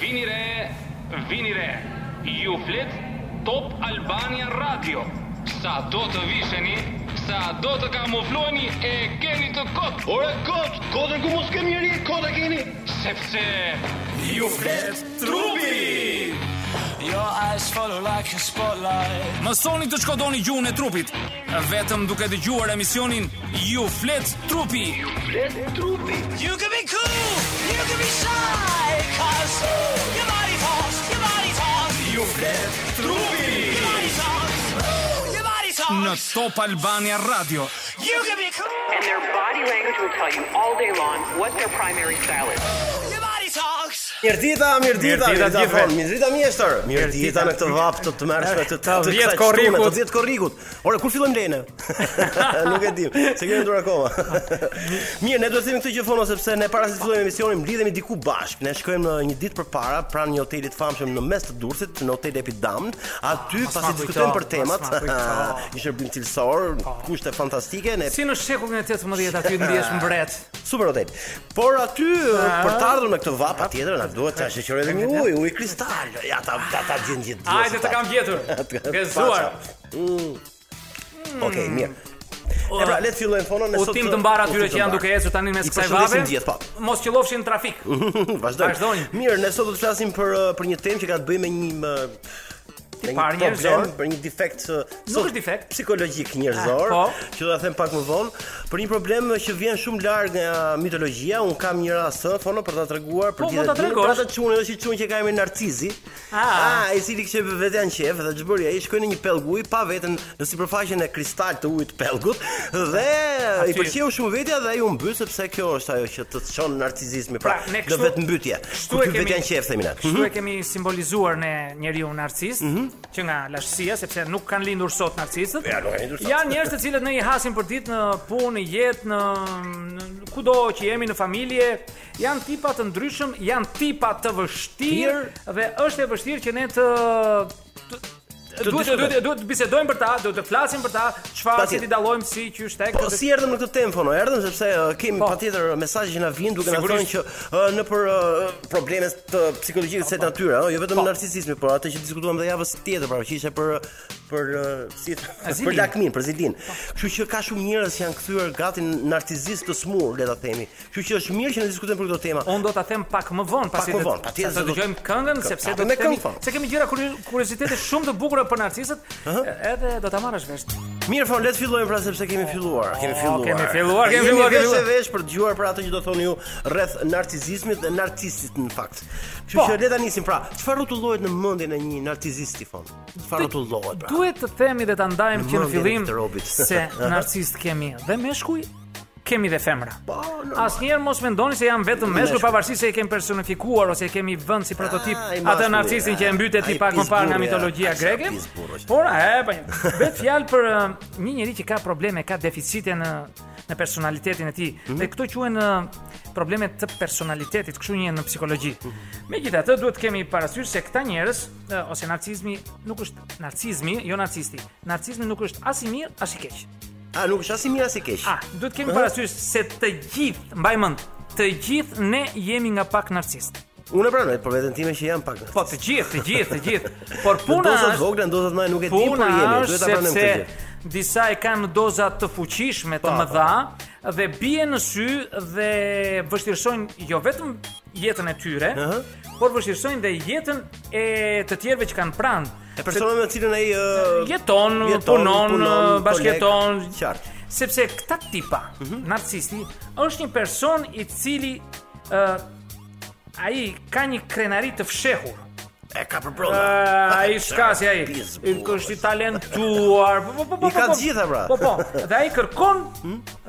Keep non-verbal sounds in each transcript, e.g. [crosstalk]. Vini re, vini re. Ju flet Top Albania Radio. Sa do të visheni, sa do të kamufloheni e keni të kot, Ore kot, kotën ku mos kemi njerë, kota keni. sepse You flet trupi Your eyes follow like a spotlight Mësoni të shkodoni gjuhën e trupit, vetëm duke dëgjuar emisionin Ju flet trupi. Flet trupi. You can be cool, you can be shy Cause your body talks, your body talks Ju flet Your body talks, your body në talks Top Albania Radio. You can be cool, And their body language will tell you all day long what their primary style is. your body talks Mirdita, mirdita, Mirëdita mirdita gjithve. fon, mirdita mjeshtër. Mirdita Mirëdita. në këtë vap të të mërshme të Ta të- të vjet kësaj korrikut. shtume, Të 10 korrikut. Ore, kur fillojmë [laughs] lene? Nuk e dim, se kemi ndur akoma. Mirë, ne duhet të themi këtë gjë fono sepse ne para se të fillojmë emisionin mblidhemi diku bashkë. Ne shkojmë në një ditë përpara pranë një hoteli të famshëm në mes të Durrësit, në hotel Epidam. Aty pas ma pasi kujto, diskutojmë për pas temat, ma kujto. [laughs] një shërbim cilësor, kushte fantastike, ne Si në shekullin e 18 aty ndihesh mbret. [laughs] Ah. Super hotel. Por aty për të ardhur me këtë vap patjetër na duhet ta shoqëroj edhe një ujë, ujë kristal. Ja ta ta ta gjend gjithë. gjithë Hajde të ta- kam gjetur. ta- Gëzuar. Pacha. Mm. Okej, mirë. E pra, le të fillojmë fonën ne Mm. U sot. tim të- të mbar atyre udhtim që të janë mbar. duke ecur tani mes I kësaj përshëndesim vabe. gjithë, po. Mos qellofshin në trafik. [laughs] Vazhdojmë. Vazhdojmë. Mirë, ne sot do të flasim për uh, për një temë që ka të bëjë me një më me një parë problem, njerëzor. për një defekt uh, Nuk sot është defekt. psikologjik njerëzor, Ah, po. që do ta them pak më vonë, për një problem që vjen shumë larg nga mitologjia. Un kam një rast uh, fono për ta treguar për Pra Po, ditën mund ta e diellit, tregosh. për atë çunë, është një çunë që ka emrin Narcizi. Ah. i cili kishte vetë janë qef dhe ç'bëri ai shkoi në një pellg uji pa veten në sipërfaqen e kristal të ujit të pellgut dhe Ah, i pëlqeu shumë vetja dhe ai u mbyt sepse kjo është ajo që të çon narcizizmi pra, Pra, ne do kështu- vetë mbytje. kështu Kur e ky kemi- vetë janë qef themi ne. Mhm. Kështu e kemi simbolizuar ne njeriu narcist, që nga lashtësia sepse nuk kanë lindur sot narcistët. Ja, nuk kanë lindur sot. Janë njerëz të cilët ne i hasim për ditë në punë, në jetë, në, në kudo që jemi në familje, janë tipa të ndryshëm, janë tipa të vështirë dhe është e vështirë që ne të të- Duhet dyshojmë. duhet duhet të bisedojmë për ta, duhet të flasim për ta, çfarë si Patjetër. ti dallojmë si qysh tek. Po si erdhëm në këtë temë fono? Erdhëm sepse uh, kemi Po. patjetër mesazhe që na vijnë duke na thënë Sigurisht. që uh, në për uh, probleme të psikologjike të natyre, ëh, jo Po. vetëm narcisizmi, por atë që diskutuam dhe javës tjetër, pra që ishte për për uh, si Azilin. Po. për lakmin, për zilin. Kështu që ka shumë njerëz që janë kthyer gati narcizist të smur, le ta themi. Kështu që është mirë që ne diskutojmë për këtë tema. Unë do ta them pak më vonë pasi më të- vonë, patjetër sa se të do- dëgjojmë këngën Kë- sepse hapim do me të kemi këngë, po. se kemi gjëra kuri- kuriozitete shumë të bukura për narcisët, edhe do ta marrësh vesh. Mirë fon, le të fillojmë pra sepse kemi filluar. Kemi filluar. kemi filluar, kemi Jemi filluar, kemi vesh e filluar. vesh për të dëgjuar për atë që do thoni ju rreth narcizizmit dhe narcistit në fakt. Kështu Po. që le ta nisim pra. Çfarë rrotullohet në mendjen e një narcizisti fon? Çfarë rrotullohet pra? Duhet të themi dhe ta ndajmë Në që në mendjen e fillim këtë robit. [laughs] se narcist kemi dhe meshkuj, kemi dhe femra. Po, normal. Asnjëherë mos mendoni se jam vetëm meshkuj Meshkuj. pavarësisht se e kemi personifikuar ose e kemi vënë si prototip Ah, i atë mashkulli, narcisin që e mbytet ah, i i pak më parë pizburri, nga mitologjia ah, sa greke. pizburr është. Por e po, bëhet fjalë për eh, një njerëz që ka probleme, ka deficite në në personalitetin e tij. Dhe këto quhen eh, probleme të personalitetit, kështu një në psikologji. Megjithatë, duhet të kemi parasysh se këta njerëz eh, ose narcizmi nuk është narcizmi, jo narcisti. Narcizmi nuk është as i mirë, as i keq. A nuk është as i mirë as i keq. A, duhet kemi parasysh se të gjithë, mbaj mend, të gjithë ne jemi nga pak narcist. Unë e pranoj për veten time që jam pak. Po të gjithë, të gjithë, të gjithë. Por puna Në dozat është vogla, në dozat më nuk e di, por puna po jemi, është duhet ta pranojmë këtë gjë. sepse disa e kanë doza të fuqishme, të Pa, mëdha dhe bie në sy dhe vështirësojnë jo vetëm jetën e tyre, Aha. por vështirësojnë dhe jetën e të tjerëve që kanë pranë. E persona me cilën ai ë, jeton, punon, bashkëjeton, koleg, qartë. sepse këta tipa, Mhm. narcisti, është një person i cili ë ai ka një krenari të fshehur. E ka për brenda. Uh, ai shkasi ai. Pizburr. I është i talentuar. Po po po. po I ka po. të gjitha, pra. Hmm? Po po. Dhe ai kërkon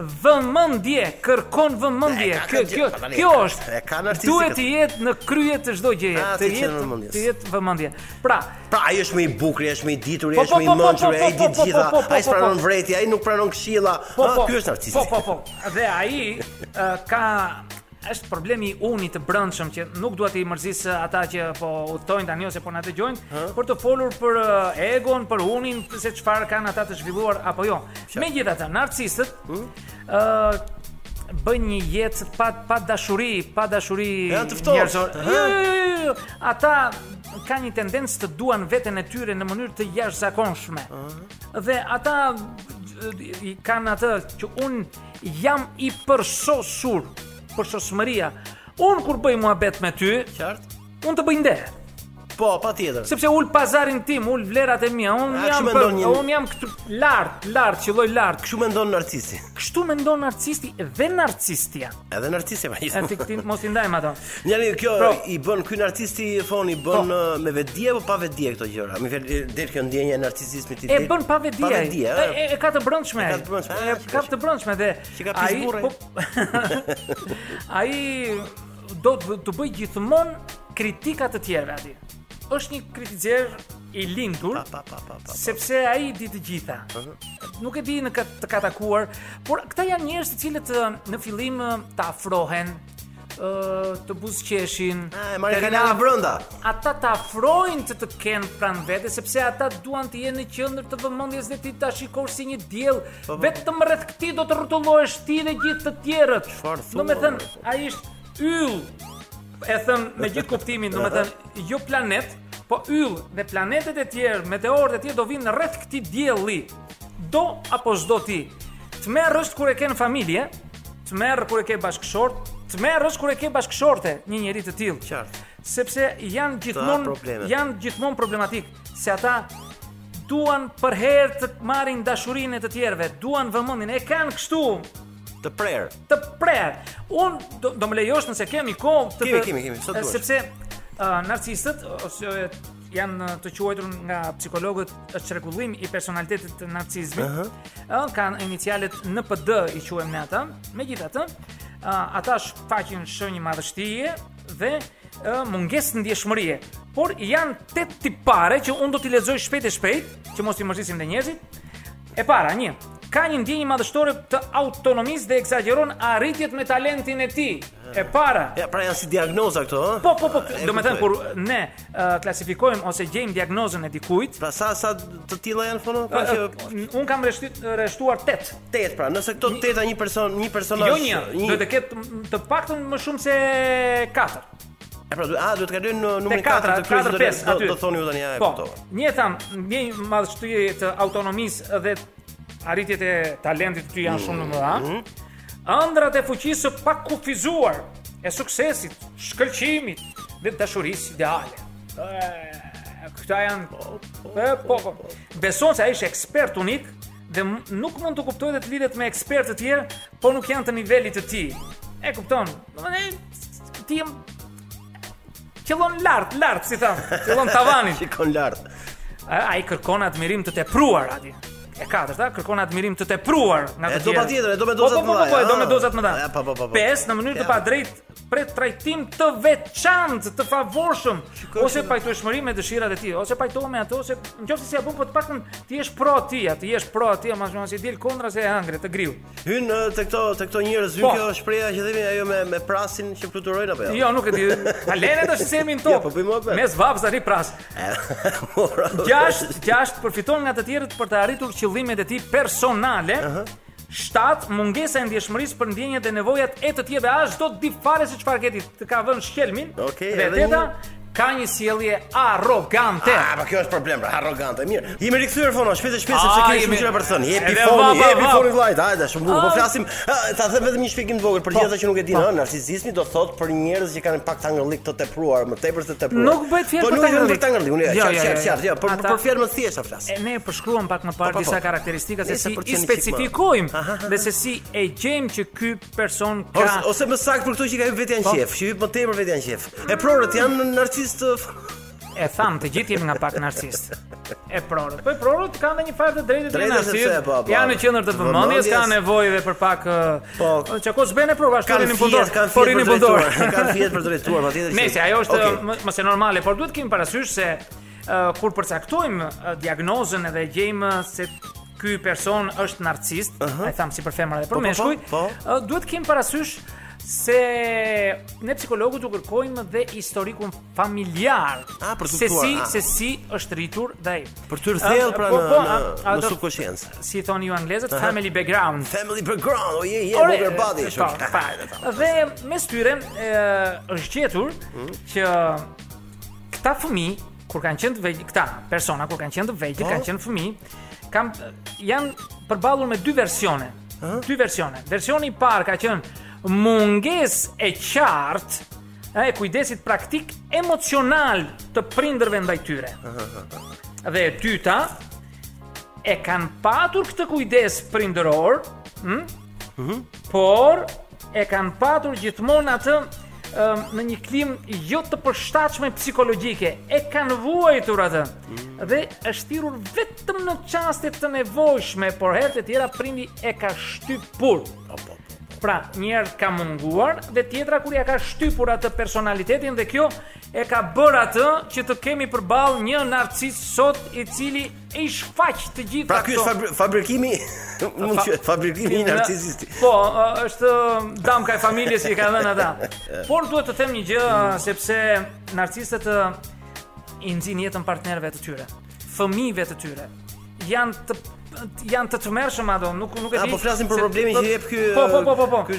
vëmendje, kërkon vëmendje. E ka Kjo të kjo gjitha, tani, kjo e ka- është. e ka narcisi Duhet këtë. të jetë në krye të çdo gjëje, Ah, të si që në jetë vëmendjes. të jetë vëmendje. Pra, Pra ai është më i bukur, ai është më i ditur, ai Po, po, është më i po, po, mençur, po, ai po, di po, të gjitha, po, po, ai po, pranon po. vreti, ai nuk pranon këshilla. po, Ah, po. ky është narcisti. Po, po, po. Dhe ai ë, ka është problemi i unit të brendshëm që nuk dua të i mërzis ë, ata që po udhtojnë tani ose po na dëgjojnë për të folur për ë, egon, për unin, për Hmm? se çfarë kanë ata të zhvilluar apo jo. Megjithatë, narcistët ë bëjnë një jetë pa pa dashuri, pa dashuri Janë të ftohtë, njerëzore. aha. Jo, jo, jo, jo, jo. Ata kanë një tendencë të duan veten e tyre në mënyrë të jashtëzakonshme. Dhe ata i- i kanë atë që un jam i përsosur, përsosmëria. Un kur bëj muhabet me ty, Qartë? un të bëj nder. Po, patjetër. Sepse ul pazarin tim, ul vlerat e mia, un A, jam kështu për, mendon një- un jam këtu lart, lart, qelloj lart. Kështu mendon narcisi. Kështu mendon narcisti dhe narcistja. Edhe narcisi ma E ti ishte. [laughs] këtin mos i ndajmë ato. Njani, kjo Pro. i bën ky narcisti fon i bën Po. eh, me vetdije apo pa vetdije këto gjëra. Më fjalë del kjo ndjenja e narcisizmit i E del- bën pa vedi. Pa ai. vetdije. E, eh. e- e ka të brëndshme. E ka ai. të brëndshme, E ah, ka të brëndshme dhe po- Që ka pis burri. [laughs] ai do të të bëj gjithmonë kritika të tjerëve aty. Është një kritizer i lindur. Pa, pa, pa, pa. sepse ai di të gjitha. Nuk e di në këtë të ka takuar, por këta janë njerëz të cilët ë, në fillim ë, të afrohen, ë, të buzqeshin. Ah, e marrin të kanala rinë- brenda. Ata të afrojnë të të kenë pranë vete, sepse ata duan të jenë në qendër të vëmendjes dhe ti ta shikosh si një diell. Po, Vetëm rreth këtij do të rrotullohesh ti dhe gjithë të tjerët. Çfarë thua, Domethënë, bre? ai është yll. E them me gjithë kuptimin, domethënë, jo planet, po yll dhe planetet e tjerë, meteorët e tjerë do vinë rreth këtij dielli. Do apo s'do ti. Të merr është kur e ke në familje, të merr kur e ke bashkëshort, të merr është kur e ke bashkëshorte, një njeri të tillë. Qartë. Sepse janë gjithmonë probleme. janë gjithmonë problematik, se ata duan për herë të marrin dashurinë e të tjerëve, duan vëmendjen, e kanë kështu Të prerë. të prerë. Un do, do më lejosh nëse kemi kohë të Kemi, të- kemi, kemi, sa duash. Sepse uh, narcisistët ose e, janë uh, të quajtur nga psikologët çrregullim i personalitetit të narcizmit. Ëh, kanë inicialet NPD i quajmë ne ata. Megjithatë, uh, ata shfaqin shenjë madhështie dhe uh, mungesë ndjeshmërie. Por janë tet tipare që unë do t'i lexoj shpejt e shpejt, që mos i mërzitsim të njerëzit. E para, një, ka një ndjenjë madhështore të autonomisë dhe eksagjeron arritjet me talentin e tij. E para. Ja, pra janë si diagnoza këto, ëh. Po, po, po, Ah, E do me thënë, kuptoj. kur ne uh, klasifikojmë ose gjejmë diagnozën e dikujt, Pra sa sa të tilla janë fono? Pra që uh, unë kam reshty- reshtuar 8. tet, pra, nëse këto teta një person, Po, një personazh. Jo një, do të ketë m- të paktën më shumë se 4. E pra, du- a duhet të kalojnë në Te numrin 4 4, të 4, 5, do aty. të thoni ju tani ja e Po, kuptova. një tham, një madhështie të autonomisë dhe arritjet e talentit të ty Mm, janë shumë të mëdha. Ëndrat e fuqisë së pakufizuar, e suksesit, shkëlqimit dhe dashurisë ideale. E, Këta janë e, po, po. Beson se ai është ekspert unik dhe m- nuk mund të kuptoj dhe të lidhet me ekspertë të tjerë, por nuk janë të nivelit të tij. E kupton? Domethënë ti jam qëllon lart, lart si tham, qëllon tavanin. Shikon lart. A- Ai kërkon admirim të tepruar aty. E katërta kërkon admirim të tepruar nga të E do tjerët. patjetër, e do me dozat Po, po, po, po, po, e do me mëdha, dozat më dha. a, po, po, po, po. Pesë në mënyrë të Ja. padrejtë pret trajtim të veçantë, të favorshëm, ose pajtueshmëri me dëshirat e tij, ose pajtohem me ato, ose nëse si e bën, po të paktën ti je pro atij, ti je pro atij, më shumë se i del kontra se e hangre të griu. Hyn ë, te këto te këto njerëz hyn Po. kjo shpreha që themi ajo me me prasin që fluturojnë apo [laughs] Jo, nuk e di. Halenet është semi në Ja, tokë. po bëj mua bet. Mes vapës tani pras. Ora, Gjasht, gjasht përfiton nga të tjerët për të arritur qëllimet e tij personale. 7 mungesa e ndjeshmërisë për ndjenjat dhe nevojat e të tjerëve. As do të di fare se çfarë ke ti. Të ka vënë shkelmin. Okej, dhe edhe teta një. ka një sjellje arrogante. [laughs] Ah, po kjo është problem, pra, arrogante. Mirë. Jemi rikthyer fono, shpejt e shpejt Ah, sepse kemi shumë jemi- gjëra për të thënë. Jepi Edhe foni, vapa, jepi vapa. foni vllajt. Hajde, shumë bukur. Po Ah. flasim, ah, ta them vetëm një shpjegim të vogël Po. për gjithë ata që nuk e dinë, ëh, narcisizmi do thotë për njerëz që kanë pak tangërlik të tepruar, më tepër se tepruar. Nuk bëhet fjalë po, për nuk vetëm tangërlik. për tangërlik. unë, Jo, Ja, qartë, jo, qartë, jo, qartë, jo. jo, për Ata- për fjalë më thjeshta flas. E, ne përshkruam pak më Po, po, parë disa po. karakteristika se Nëse si i përqendriqik, specifikojmë aha, aha. dhe se si e gjejmë që ky person ka Po. Ose, ose më saktë për këto që ka hyrë vetja në qef, që hyrë më tepër vetja në qef. E prorët janë narcist E tham, të gjithë jemi nga pak narcist. E prorët. Po e prorët kanë dhe një farë të drejtë të Drejtë sepse, narcist. po, po. Janë në qendër të vëmendjes, Vëmendjes. kanë nevojë dhe për pak eh, Po. çka kos bën e prova, kanë shtorin në fjet, fundor, kanë forin fjet në për fundor. drejtuar, [laughs] kanë fjet për drejtuar, patjetër. që- Nëse ajo është Okej. okay. mos e normale, por duhet kemi parasysh se uh, kur përcaktojmë uh, diagnozën edhe gjejmë uh, se ky person është narcist, ai tham si për femra dhe për po, meshkuj, po. uh, duhet kemi parasysh se ne psikologët u kërkojmë dhe historikun familjar. A, Ah, për të se kuptuar, si a. se si është rritur dhe ai. po, Për të rthjell pra në në, a- në ato- subkonsciencë. Si thonë ju anglezët, family background. Family background, oje, je Ore, Booker Buddy. e, shumë. po, po. Dhe mes tyre e, është gjetur që këta fëmijë kur kanë qenë të vegjël, këta persona kur kanë qenë të vegjël, Po. kanë qenë fëmijë, kanë janë përballur me dy versione. Dy versione. Versioni i parë ka qenë mungesë e qartë e kujdesit praktik emocional të prindërve ndaj tyre. Dhe e dyta e kanë patur këtë kujdes prindëror, hm? por e kanë patur gjithmonë atë ëm, në një klim jo të përshtatshme psikologjike. E kanë vuajtur atë. Mm. Dhe është thirrur vetëm në çaste të nevojshme, por herë të tjera prindi e ka shtypur. Po, Pra, njerë ka munguar dhe tjetra kur ja ka shtypur atë personalitetin dhe kjo e ka bërë atë që të kemi përballë një narcis sot i cili e shfaq të gjitha Pra ky këto. është fabri- fabrikimi, [laughs] mund të fabrikimi i narcisisti. Po, ë, është ë, damka e familjes që i ka [laughs] dhënë ata. Por duhet të them një gjë ë, sepse narcisistët ë, i nxjinin jetën partnerëve të tyre, fëmijëve të tyre. Janë të janë të tmerrshëm ato, nuk nuk e A, di. po flasim për se- problemin që jep ky, Po, po, po, po, po. ky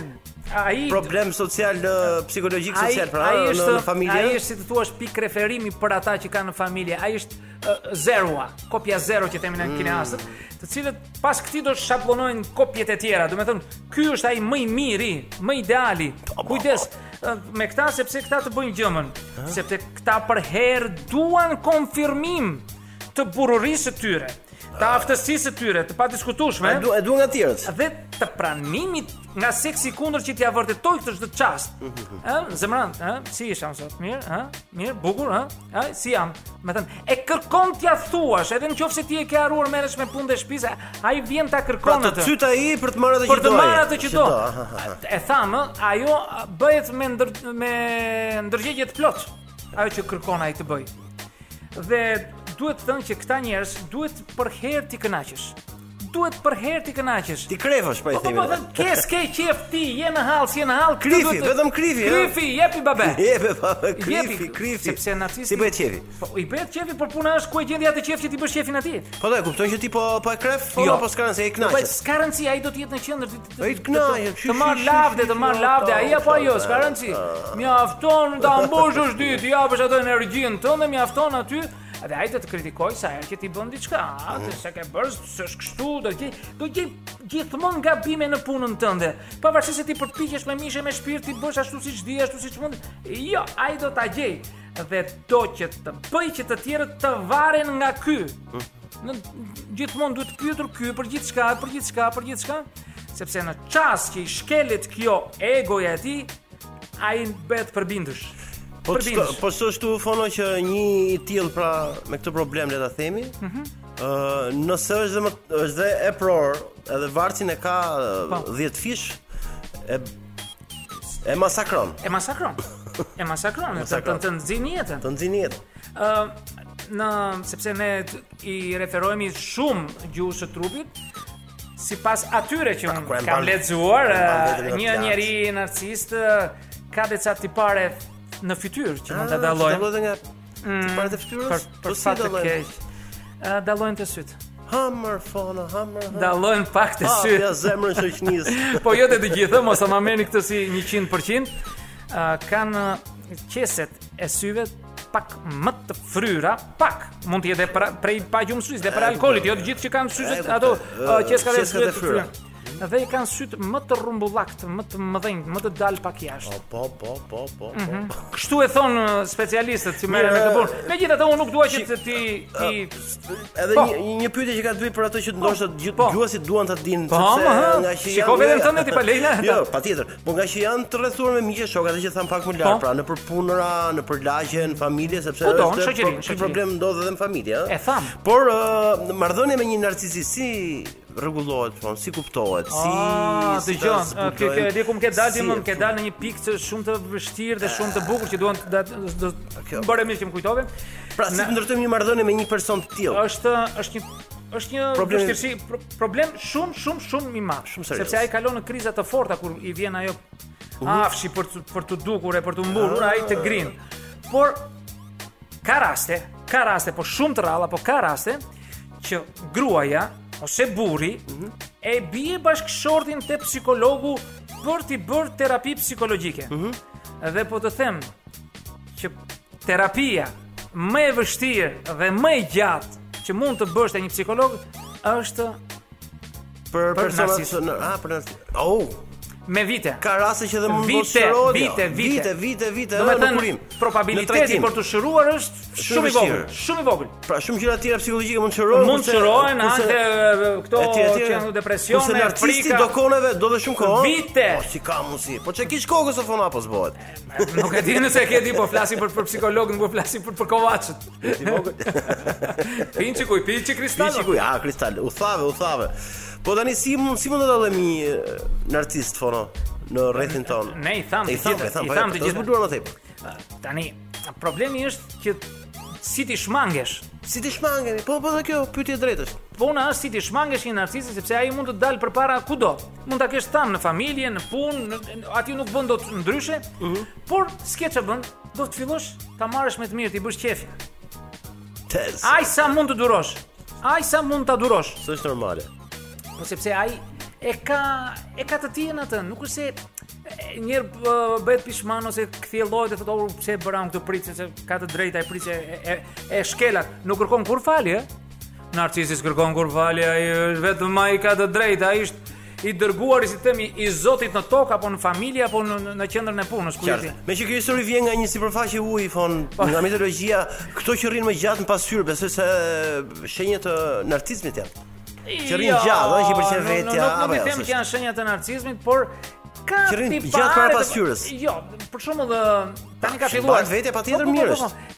Ai Problem social, eh, psikologjik ai- social, pra ai në- është në familje. ai është si të thuash pikë referimi për ata që kanë në familje. Ai është ë, zeroa, kopja zero që themin Mm. në kineastët, të cilët pas këtij do shkaplonojnë kopjet e tjera. Do të thonë, ky është ai më i miri, më ideali. Kujdes ë, me këta sepse këta të bëjnë gjëmën, sepse këta për herë duan konfirmim të burrërisë së tyre, të Ah. aftësisë së tyre, të padiskutueshme E du, e du nga tjerët. dhe të pranimit nga seksi kundër që t'ja vërtetoj këtë çdo çast. Ë, zemran, ë, si isham sot? Mirë, ë? Mirë, bukur, ë? Ë, si jam? Me thënë, e kërkon t'ja thuash, edhe nëse ti e ke harruar merresh me punë dhe shtëpi, se ai vjen ta Pra kërkon të atë. cyt ai për të marrë atë që Për të doje. marrë atë që do. aha, aha. E thamë, ajo a, bëhet me ndër, me ndërgjegje të plot. Ajo që kërkon ai të bëj. Dhe duhet të thënë që këta njerëz duhet për herë ti kënaqesh. Duhet për herë ti kënaqesh. Ti krefësh pra i Po po themi. po, ne. thënë, ke s'ke qef ti, je në hall, si je në hall, këtë Krifi, duhet të- vetëm krifi, ëh. Krifi, jepi babe. Jepe, pa, Jepi, krifi, krifi. sepse nacisti- Si bëhet qefi? Po i bëhet qefi, por puna është ku e gjendja atë qef që ti bësh qefin atij. Po do e kupton që ti po po e kref, po Jo. po s'ka se e Po kënaqesh. s'ka rëndësi, ai do të jetë në qendër. ti- ti- ti- Ai të ti- kënaqet, Të shi, marr shi, lavde, shi, të shi, marr shi, lavde, ata, ai apo ata, ajo, s'ka ata. rëndësi. Mjafton ta mbosh është ditë, japësh atë energjinë tënde, mjafton aty dhe ai do të kritikoj sa herë që ti bën diçka, atë se ke bërë, s'është kështu, do gjej, do gjej gjithmonë gabime në punën tënde. Pavarësisht se ti përpiqesh me mishë me shpirt, ti bësh ashtu siç di, ashtu siç mund. Jo, ai do ta gjej dhe do që të bëj që të tjerët të varen nga ky. Në gjithmonë duhet të pyetur ky për gjithçka, për gjithçka, për gjithçka, sepse në çast që i shkelet kjo egoja e tij, ai bëhet përbindësh. Po përbindësh. s'ka- po s'është fono që një i tillë pra me këtë problem le ta themi. Ëh, Mhm. nëse është dhe më është dhe e pror, edhe varsin e ka Po. ë, 10 fish e e masakron. E masakron. E masakron, të të Masakron. të nxjini jetën. Të nxjini jetën. Ë në sepse ne t- i referohemi shumë gjuhës së trupit sipas atyre që kur e unë mban- kam lexuar, kur e mban ë, vetën e një flas. njeri narcist ë, ka deca tipare në fytyrë që mund ta dallojnë. Dallojnë nga tipare Ah, të fytyrës. për Po për si fat të dallojnë? keq. Ë, dallojnë të sytë. Hammer fona, hammer. hammer. Dallojnë pak të Ah, ja sytë. zemrën shoqënisë. [laughs] po jo të të gjithë, mos ta merrni këtë si 100%. Ë, kanë qeset e syve pak më të fryra, pak mund të jetë edhe pra, prej pa gjumësisë dhe për alkoolit, jo të gjithë që kanë E, syzet kuptoj. ato Ë, ë, qeskat e qeskat syve e të fryra. fryra. Dhe i kanë sytë më të rrumbullakt, më të mëdhenj, më të dal pak jashtë. Po, po, po, po, po. Mhm. Kështu e thon ë, specialistët që merren me këtë punë. Megjithatë unë nuk dua që të ti ti Edhe Po. një një pyetje që ka të bëj për ato që ndoshta gju- po. gjuasit duan ta dinë Po, ama, ha, shiko veten tënde ti pa lejna. [laughs] Jo, patjetër. Po nga që janë të rrethuar me miqë shok, atë që tham pak më lart, Po. pra në përpunëra, në përlagje, në familje, sepse Po, do, në pro- shoqëri, në ky shoqëri. problem ndodh edhe në familje, ëh. E tham. Por ë, marrëdhënia me një narcisist si rregullohet, po, si kuptohet, si Ah, si ta dëgjon, zbulojnë, kjo kjo e di ku më ke dalë ti si më e më ke dalë në një pikë që shumë të vështirë dhe shumë të bukur që duan të da- do Kjo- bëre mirë që më kujtove. Pra si Na- të ndërtojmë një marrëdhënie me një person të tillë? Është është një është një Problem- vështirësi, pro- problem shumë shumë shumë i madh. Shumë serioz. Sepse ai kalon në kriza të forta kur i vjen ajo afshi për të, për të dukur e për të mburur, ai të grin. Por ka raste, ka raste, po shumë të ralla, po ka raste që gruaja ose burri e bie bashkëshortin te psikologu për t'i bërë terapi psikologjike. Dhe po të them që terapia më e vështirë dhe më e gjatë që mund të bësh te një psikolog është Për personat narcisist. që në- ah për narcis. Oh, me vite. ka raste që dhe mund Vite, të shërohet. vite, vite. vite, vite, vite, Do ë, me në thënë, kurim. Në probabiliteti trajtim. për të shëruar është shumë i vogël, vështirë. shumë i vogël. Pra shumë gjëra të tjera psikologjike mund të shërohen. Mund të shërohen atë këto etj, etj. që janë Kurse depresione, narcisti frika. do koneve, do dhe shumë kohë. Vite. Po si ka mundsi? Po çe kish kokës ofon apo s'bëhet? Nuk e di nëse e ke di, po flasim për për psikolog, nuk po flasim për për kovaçët. Pinçi kuj, pinçi kristal. Piçi ku ja, ah, kristal. U thave, u thave. Po tani si mund si mund të dallojmë një e, narcist fono në rrethin ton? Ne i thamë E i të tham, gjitha- i tham, i po, thamë të do gjitha. zbuluar më tej. Tani, problemi është që si ti shmangesh. Si ti shmangeni? Po po dhe kjo pyetje e drejtësh. Puna është si ti shmangesh një narcisist sepse ai mund të dalë përpara kudo. Mund ta kesh tam në familje, në punë, në- aty nuk bën dot ndryshe. Por s'ke ç'e bën, do të fillosh ta marrësh me të mirë, ti bësh qefin. Tes. Aj sa mund të durosh. Aj sa mund ta durosh. S'është normale. Po sepse ai e ka e ka të tjerën atë, nuk është se e, njërë bë- bëhet pishman ose kthjelllohet e thotë "Oh, pse e bëra unë këtë pritje se ka të drejtë ai pritje e, e, e shkelat, nuk kërkon kur falje. Narcisis kërkon kur falje, ai është vetëm ai ka të drejtë, ai është i dërguar i si themi i Zotit në tokë apo në familje apo në në- në qendrën e punës ku jeti. Qartë. Me që kjo histori vjen nga një sipërfaqe uji fon nga mitologjia, këto që rrinë më gjatë në pasqyrë, besoj se shenjë të narcizmit janë. Që rrinë gjallë, ëh, që i pëlqen Jo, nuk- vetja, nuk- Nuk apo i jo, them s'është. që janë shenjat e narcizmit, por ka Që rrinë tipare gjatë para të- pasqyrës. Jo, për shembull ë, tani ka që filluar mbahet vetja patjetër Po, po, po, mirë po, po.